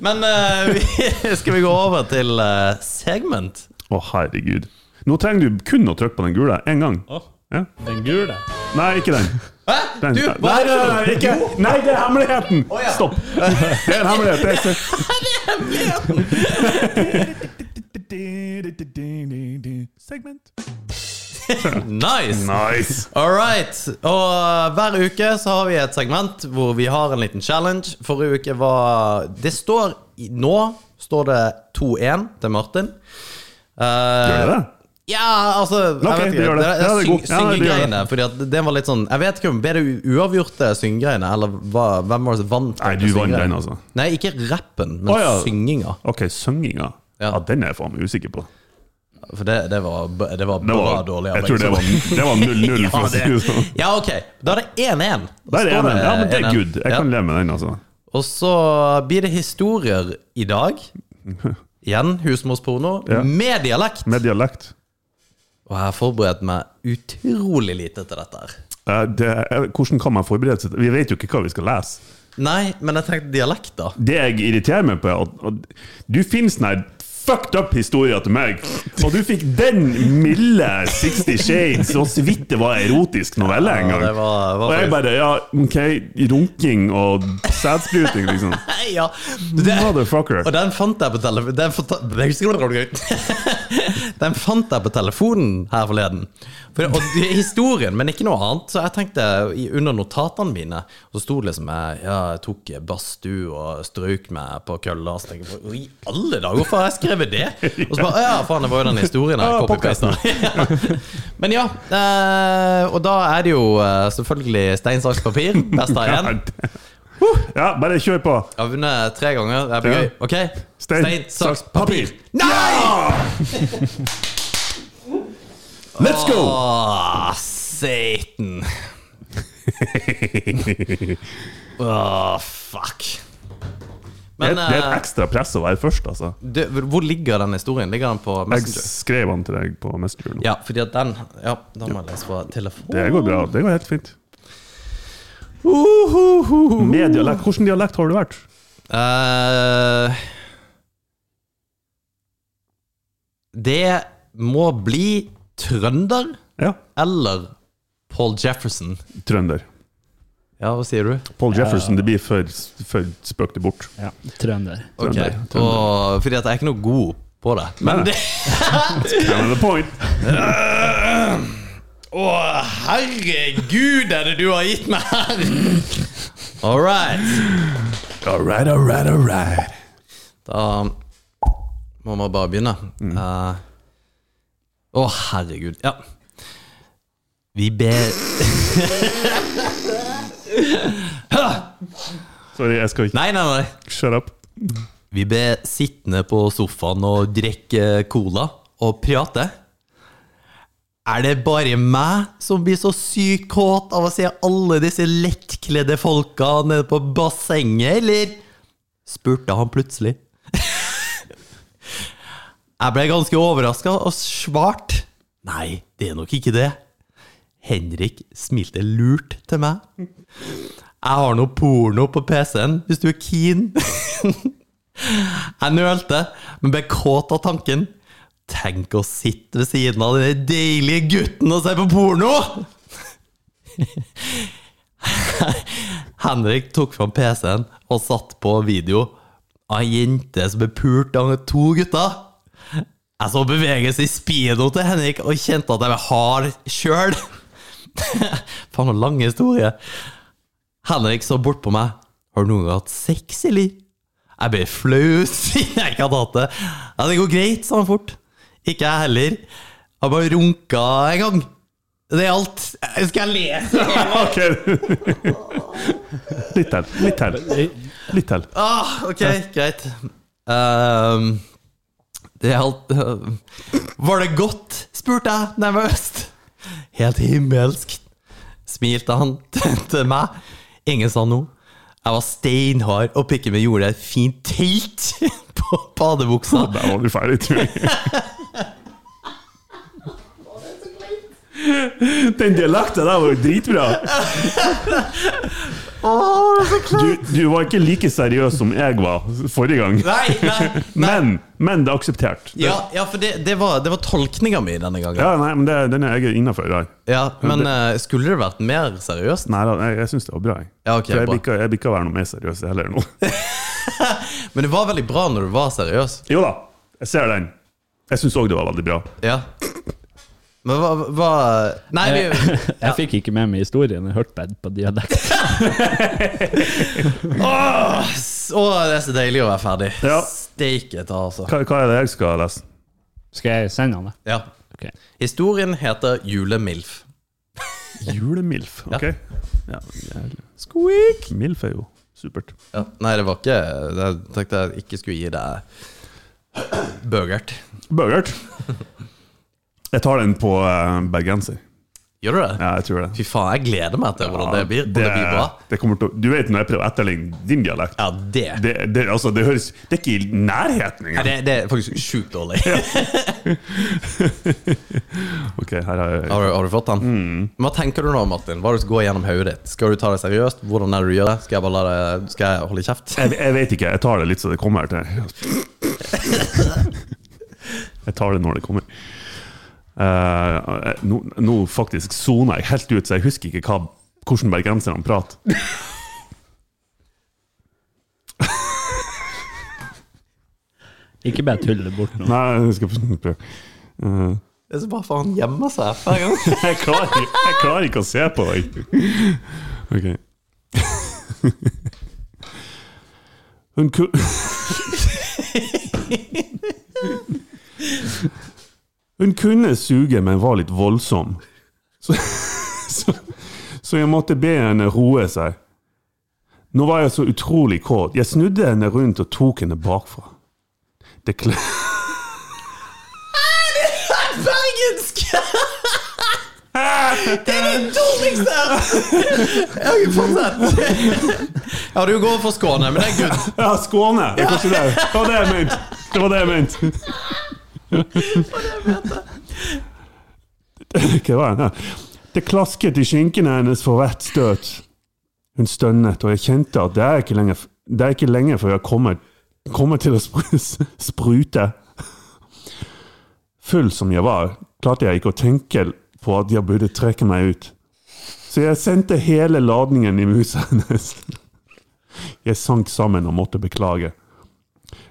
B: Men eh, vi, skal vi gå over til eh, segment?
C: Å, herregud. Nå trenger du kun å trykke på den gule én gang.
D: Åh,
C: Ja.
D: den gule.
C: Nei, ikke den.
B: Hæ?
C: den.
B: Du,
C: nei,
B: hva er
C: nei,
B: det?
C: nei, ikke. nei, det er hemmeligheten!
B: ja.
C: Stopp. Det er en hemmelighet. Det er hemmeligheten! [LAUGHS] Segment.
B: Nice!
C: Nice.
B: All right. Og eh, hver uke så har vi et segment hvor vi har en liten challenge. Forrige uke var Det står i- Nå står det 2-1 til Martin. Eh,
C: Gjør det det?
B: Ja, altså jeg
C: Ok,
B: vet
C: det
B: ikke.
C: gjør
B: Det
C: det.
B: er
C: Ja, det er
B: syng-
C: god. Ja, det gjør det.
B: syngegreiene. Fordi at det var litt sånn Jeg vet ikke om ble det uavgjorte syngegreiene, eller hva, hvem var det som vant?
C: Nei,
B: den
C: du vant
B: syngegreien?
C: den, altså.
B: Nei, ikke rappen, men
C: Å, ja.
B: synginga.
C: OK, sønginga.
B: Ja.
C: Ja, den er jeg faen meg usikker på.
B: For det, det var, b- det var
C: Det
B: bra
C: var,
B: dårlig.
C: jeg tror det
B: begge
C: var det var 0-0, for å si det sånn.
B: [LAUGHS] Ja, ok. Da er det 1-1.
C: Der er den. Ja, men det er
B: 1-1.
C: good. Jeg
B: Ja.
C: kan leve med den, altså.
B: Og så blir det historier i
C: [LAUGHS]
B: dag. Igjen husmorsporno.
C: Ja.
B: Med dialekt.
C: Med dialekt.
B: Og jeg har forberedt meg utrolig lite til dette. her
C: Eh, Det, eh, hvordan kan man forberede seg? til- Vi vet jo ikke hva vi skal lese.
B: Nei, men jeg tenkte dialekt, da.
C: Det jeg irriterer meg på, er at, at du finner sånne her fucked up historier til meg, og du fikk den milde Sixty Shades, og så vidt det var erotisk novelle en
B: Ja,
C: gang.
B: det var- det var
C: og jeg
B: faktisk-
C: bare Ja, OK, runking og sædspruting, liksom.
B: [LAUGHS] Ja, det,
C: Motherfucker.
B: og den fant jeg på telefonen den, fant- [LAUGHS] den fant jeg på telefonen her forleden. For, og det er historien, men ikke noe annet. Så jeg tenkte i- under notatene mine Så sto det liksom jeg, ja, jeg tok badstue og strøk meg på kølla. Så tenkte jeg, "Hvor I alle dager, hvorfor har jeg skrevet det? Og så bare Ja, faen, det var jo den historien jeg
C: Ja,
B: copypasta. [LAUGHS] Ja. Men ja. eh, Og da er det jo eh, selvfølgelig stein, saks, papir. Best av
C: [LAUGHS] Ja,
B: én.
C: det- ja, bare kjør på.
B: Jeg har vunnet tre ganger. Det blir
C: Ja.
B: gøy. Ok?
C: Stein, saks, papir.
B: Nei!
C: Let's go!
B: Åh,
C: [LAUGHS]
B: Satan. Åh, fuck.
C: Det er,
B: Men
C: det er et
B: eh,
C: ekstra press å være først, altså.
B: du, hvor ligger den historien? Ligger den på
C: Jeg
B: Messenger?
C: skrev han til deg på Messenger nå.
B: Ja, fordi at den Ja, da må jeg lese fra telefonen.
C: Det går bra. Det går helt fint.
B: Uhuhuhu.
C: Med dialekt. Hvilken dialekt har du vært?
B: Eh, det må bli trønder
C: Ja,
B: eller Paul Jefferson.
C: trønder.
B: Ja, hva sier du?
C: Paul Jefferson, det blir for, for spøk det bort.
D: Ja, trønder.
B: Ok,
C: Trønder, trønder.
B: og, Fordi at jeg er ikke noe god på det. Men
C: Nei.
B: det
C: Kind of the point.
B: Å, herregud, er det du har gitt meg her! All right.
C: All right, all right, all right.
B: Da må man bare begynne. Eh, Å, herregud. Ja. Vi ber
C: Sorry, jeg skal ikke
B: Nei, nei, nei.
C: Shut up. [LAUGHS]
B: Vi ble sittende på sofaen og drikke cola og prate. Er det bare meg som blir så sykt kåt av å se alle disse lettkledde folka nede på bassenget, eller? spurte han plutselig. [LAUGHS] Jeg ble ganske overraska og svarte. Nei, det er nok ikke det. Henrik smilte lurt til meg. Jeg har noe porno på PC-en, hvis du er keen. Jeg nølte, men ble kåt av tanken. Tenk å sitte ved siden av den deilige gutten og se på porno! Henrik tok fram PC-en og satte på video av ei jente som ble pult av to gutter. Jeg så bevegelse i speedo til Henrik og kjente at jeg var hard sjøl. Faen, noen lang historie. Henrik så bort på meg. Har du noen gang hatt sex, eller? Jeg ble flau [LAUGHS] siden jeg ikke hadde hatt det. Ja, det går greit, sa han fort. Ikke jeg heller. Jeg bare runka en gang. Det er alt. Skal jeg lese?
C: OK. Litt til. Litt til. Litt til.
B: Ah, ok, greit. Ehm, det er alt ehm, Var det godt? spurte jeg nervøst. Helt himmelsk, smilte han [LAUGHS] til meg. Ingen sa noe. Jeg var steinhard, og pikken min gjorde et fint telt [LAUGHS] på badebuksa.
C: Der var du ferdig, tror jeg. Den dialekten der var jo dritbra. Du, du var ikke like seriøs som jeg var forrige gang.
B: Nei, nei, nei.
C: Men, men det er akseptert. Det-
B: Ja, ja for det, det var, det var tolkninga mi denne gangen.
C: Ja, nei, men det, den er jeg innafor. Nei
B: Ja, Men eh, skulle det vært mer seriøst?
C: da, jeg, jeg syns det var bra. Jeg,
B: Ja, ok,
C: For jeg
B: bra.
C: blir ikke- jeg blir ikke å være noe mer seriøs heller nå. [LAUGHS]
B: Men det var veldig bra når du var seriøs.
C: Jo da, jeg ser den. Jeg syns òg det var veldig bra.
B: Ja. Men hva, hva Nei, vi
C: Eh.
D: Jeg fikk ikke med meg historien, jeg hørte bare på dialekt.
B: Åh, s- åh, det er så deilig [LAUGHS] å være ferdig.
C: Ja.
B: Steike ta, altså.
C: Hva, hva er det jeg skal lese?
D: Skal jeg sende han det?
B: Ja.
D: Ok.
B: Historien heter Julemilf.
C: Julemilf. Ok. Ja.
B: Squeak!
C: Milf er jo supert.
B: Ja. Nei, det var ikke Jeg tenkte jeg ikke skulle gi deg bøgert. [LAUGHS]
C: Burgert. Jeg tar den på eh, bergenser.
B: Gjør du det?
C: Ja, jeg tror det.
B: Fy faen, jeg gleder meg til hvordan det blir. Om det, blir bra.
C: det kommer til å Du vet når jeg prøver å etterligne din dialekt?
B: Ja, det.
C: Det, det, altså, det høres Det er ikke i nærheten
B: Nei,
C: engang.
B: det, det er faktisk sjukt
C: [LAUGHS]
B: dårlig.
C: Ok, her har jeg
B: Har, du- har du fått den? Hva tenker du nå, Martin? Hva er det som går gjennom hodet ditt? Skal du ta det seriøst? Hvordan er det du gjør det? Skal jeg bare la det, skal jeg holde kjeft?
C: jeg, jeg vet ikke. Jeg tar det litt så det kommer til Jeg tar det når det kommer. Eh, jeg- nå, nå faktisk soner jeg helt ut, så jeg husker ikke hva, hvordan bergenserne prater.
D: Ikke bare tulle bort nå.
C: Nei, jeg skal prøve. Eh,
B: [LAUGHS] Det er så bra for han gjemmer seg hver gang.
C: [LAUGHS] jeg, klarer, ikke- jeg klarer ikke å se på deg. Ok. Hun ku... Hun kunne suge, men var litt voldsom. Så, så, så jeg måtte be henne roe seg. Nå var jeg så utrolig kåt. Jeg snudde henne rundt og tok henne bakfra. Det kle...
B: [LAUGHS] [LAUGHS] Bergensk! Det er det dårligste jeg har Jeg har ikke fortsatt. Ja, du går for Skåne, men det er good.
C: Ja, Skåne. Det, er kanskje det. det var det jeg mente. Det var det jeg mente. Hva var det? Det klasket i skinkene hennes for hvert støt. Hun stønnet, og jeg kjente at det er ikke lenge, det er ikke lenge før jeg kommer, kommer til å spr- [LAUGHS] sprute. Full som jeg var, klarte jeg ikke å tenke på at jeg burde trekke meg ut. Så jeg sendte hele ladningen i musa hennes. Jeg sank sammen og måtte beklage.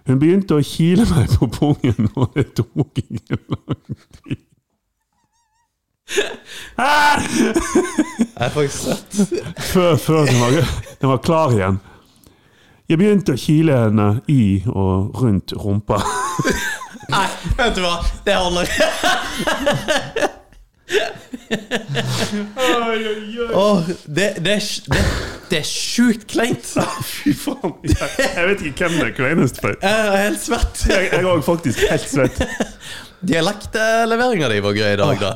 C: Hun begynte å kile meg på pungen, og det tok ikke lang tid.
B: Jeg har faktisk sett.
C: Før, før den, var, den var klar igjen. Jeg begynte å kile henne i og rundt rumpa.
B: Nei, vet du hva? Det holder. Åh, det, det, er sj- det, det er sjukt kleint.
C: Fy faen. Jeg, jeg vet ikke hvem det er kleinest for.
B: Jeg er helt svett.
C: Jeg jeg var faktisk helt svett.
B: Dialektleveringa di var grei i dag, da.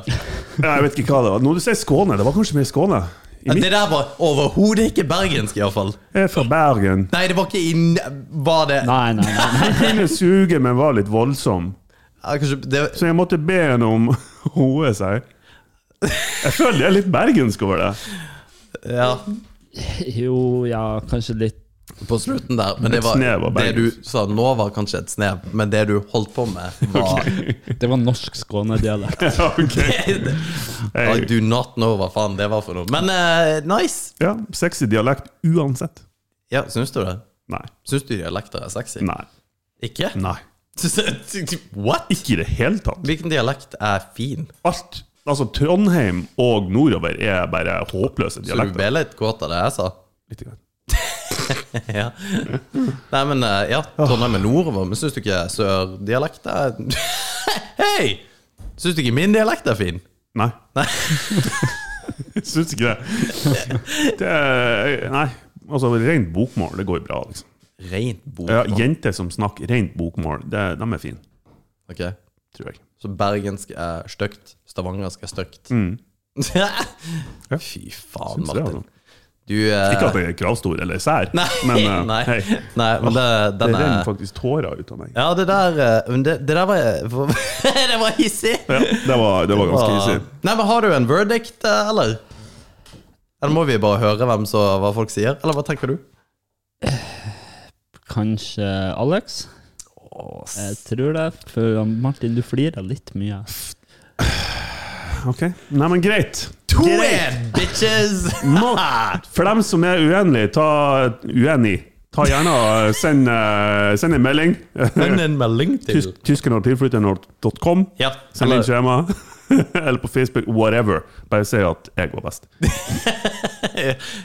C: Jeg vet ikke hva det var. Når du sier Skåne, det var kanskje mer Skåne? I
B: Det
C: mitt,
B: der var overhodet ikke bergensk, iallfall.
C: jeg er fra Bergen.
B: Nei, det var ikke i n- Var det
D: Nei, nei, nei. nei.
C: Kunne suge, men var litt voldsom.
B: Ja, kanskje, det,
C: Så jeg måtte be henne om å roe seg. Jeg føler det er litt bergensk over det. [LAUGHS]
B: ja,
D: Jo, ja, kanskje litt
B: på slutten der. Men det,
C: Et
B: var,
C: snev av
B: det du
C: bergensk.
B: sa nå, var kanskje et snev, men det du holdt på
C: [LAUGHS]
B: med, var [LAUGHS]
D: Det var norsk skånedialekt.
C: Ja, ok.
B: I do not know hva faen det var for noe. Men eh, nice!
C: Ja, sexy dialekt uansett.
B: Ja, Syns du det?
C: Nei.
B: Syns du dialekter er sexy?
C: Nei.
B: Ikke?
C: Nei.
B: [LAUGHS] What?
C: Ikke i det hele tatt.
B: Hvilken dialekt er fin?
C: Alt Altså, Trondheim og nordover er bare
B: Så
C: håpløse
B: du
C: dialekter.
B: ble litt kåt av det jeg sa?
C: Litt grann.
B: Ja. Nei, men eh, ja, Trondheim er nordover, men syns du ikke sørdialekt er [LAUGHS] Hei! Syns du ikke min dialekt er fin?
C: Nei. [LAUGHS] Jeg Syns ikke det. det er, nei. Altså, rent bokmål, det går bra, liksom.
B: Rent bord.
C: Ja, jenter som snakker rent bokmål, det, de er fine,
B: Ok.
C: tror jeg.
B: Så bergensk er stygt, stavangersk er stygt.
C: Mm.
B: [LAUGHS] Fy faen,
C: Syns det,
B: Martin.
C: altså.
B: Du eh,
C: Ikke at jeg er kravstor eller sær,
B: [LAUGHS] Nei,
C: men eh,
B: [LAUGHS] nei,
C: hei,
B: nei, men det,
C: det
B: den
C: renner
B: er
C: faktisk tårer ut av meg.
B: Ja, det der eh, men Det, det der var [LAUGHS] Det var hissig!
C: Ja, det, var, det var ganske hissig.
B: Nei, men har du en verdict, eh, eller? Eller må vi bare høre hvem så, hva folk sier? Eller hva tenker du?
D: Kanskje Alex?
B: Eh,
D: Jeg tror det. For han- Martin, du flirer litt mye.
C: Ok. Nei, men greit.
B: To it, [LAUGHS] bitches!
C: Nå, for dem som er uenige, ta uenig. Ta gjerne og send, eh, send en melding. [LAUGHS]
B: Send en melding til
C: Tysk- Tyskernortilflytternord.com.
B: Ja.
C: Send inn
B: Eller,
C: skjema. [LAUGHS] Eller på Facebook. Whatever. Bare si at jeg var
B: [LAUGHS]
C: best.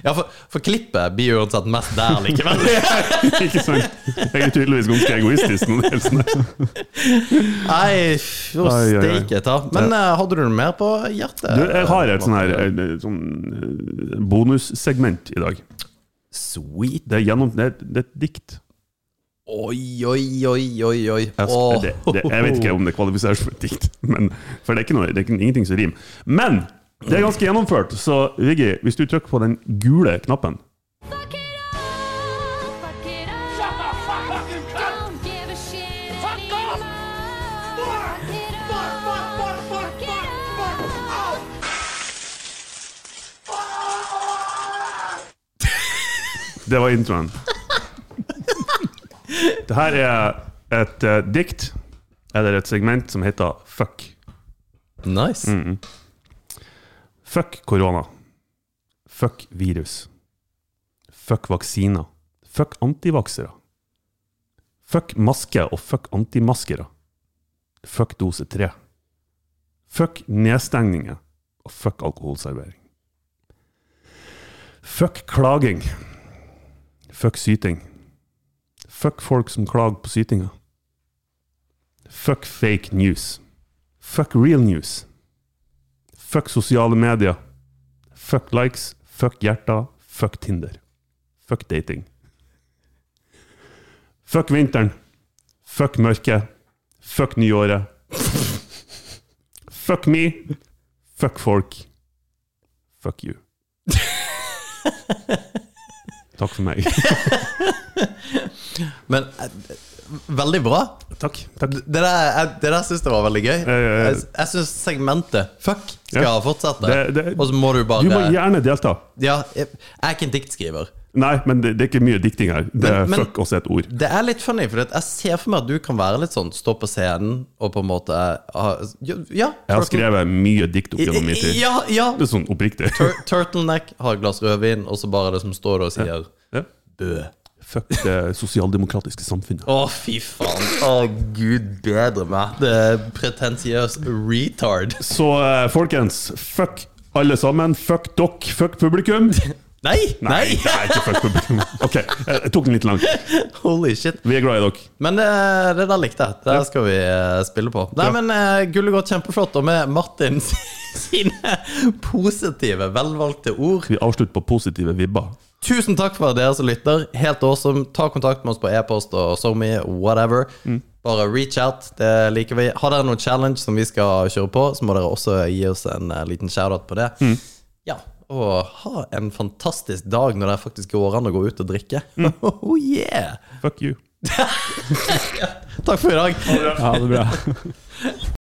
B: ja, for, for klippet blir jo uansett mest der [LAUGHS] likevel.
C: Ikke sant? Jeg er tydeligvis ganske egoistisk. Når det sånn gjelder sånne.
B: Nei, jo,
C: Ai, ai, ai.
B: steike ta. Men eh, hadde du noe mer på hjertet?
C: Du, jeg har et sånn her eh, sånn eh, bonussegment i dag.
B: Sweet.
C: Det er, gjennom, det er, det er et dikt.
B: Oi, oi, oi, oi, oi.
C: Jeg, skal,
B: Åh.
C: Altså, det, det, jeg vet ikke om det kvalifiseres for et dikt, men, for det er, ikke noe, det er ikke, ingenting som rimer. Men det er ganske gjennomført, så Viggy, hvis du trykker på den gule knappen
E: Fuck it up, fuck it up. Shut the fuck up, you cunt! Don't give a shit fuck anymore. Off. Fuck, it up, fuck, fuck, fuck, fuck, fuck, fuck, fuck,
C: Det var introen. Det her er et eh, dikt, eller et segment, som heter Fuck.
B: Nice.
C: Fuck korona. Fuck virus. Fuck vaksiner. Fuck antivaksere. Fuck maske og fuck antimaskere. Fuck dose tre. Fuck nedstengninger. Og fuck alkoholservering. Fuck klaging. Fuck syting. Fuck folk som klager på sytinga. Fuck fake news. Fuck real news. Fuck sosiale medier. Fuck likes. Fuck hjerter. Fuck Tinder. Fuck dating. Fuck vinteren. Fuck mørket. Fuck nyåret. Fuck me. Fuck folk. Fuck you. Takk for meg.
B: Men eh, veldig bra.
C: Takk. takk.
B: Det der, jeg- det der syns jeg var veldig gøy.
C: eh.
B: Jeg, jeg syns segmentet fuck skal
C: Ja.
B: fortsette.
C: Det- det-
B: Og så må du bare
C: Du må gjerne delta.
B: Ja, jeg, jeg er ikke en diktskriver.
C: Nei, men det, det er ikke mye dikting her. Det
B: Men-
C: er
B: men-
C: fuck også et ord.
B: Det er litt funny, for jeg ser for meg at du kan være litt sånn stå på scenen og på en måte eh, ha- Ja.
C: Jeg har skrevet mye dikt opp gjennom min tid.
B: Ja, ja.
C: Det er sånn oppriktig.
B: Tur turtleneck, har et glass rødvin, og så bare liksom står du og sier
C: Ja.
B: bø.
C: Fuck det sosialdemokratiske samfunnet.
B: Å, fy faen. Å, gud bedre meg. Det er pretensiøs retard.
C: Så eh, folkens, fuck alle sammen. Fuck dere. Fuck [LAUGHS] publikum.
B: Nei! Nei! [LAUGHS]
C: ikke fuck publikum. Ok, eh, jeg jeg tok den litt langt.
B: Holy shit.
C: Vi er glad i dere.
B: Men eh, det der likte jeg. Det der skal vi eh, spille på. Nei,
C: Ja.
B: men uh, gullet går kjempeflott, og med Martin [LAUGHS] sine positive, velvalgte ord
C: Vi avslutter på positive vibber.
B: Tusen takk for dere som lytter. Helt awesome. Ta kontakt med oss på e-post og SoMe, whatever. Bare reach out. Det liker vi. Har dere noen challenge som vi skal kjøre på, så må dere også gi oss en eh, liten shout-out på det. Ja, og ha en fantastisk dag når det faktisk går an å gå ut og drikke. [LAUGHS] Oh yeah!
C: Fuck you.
B: Takk for i dag.
D: Ja, det er bra.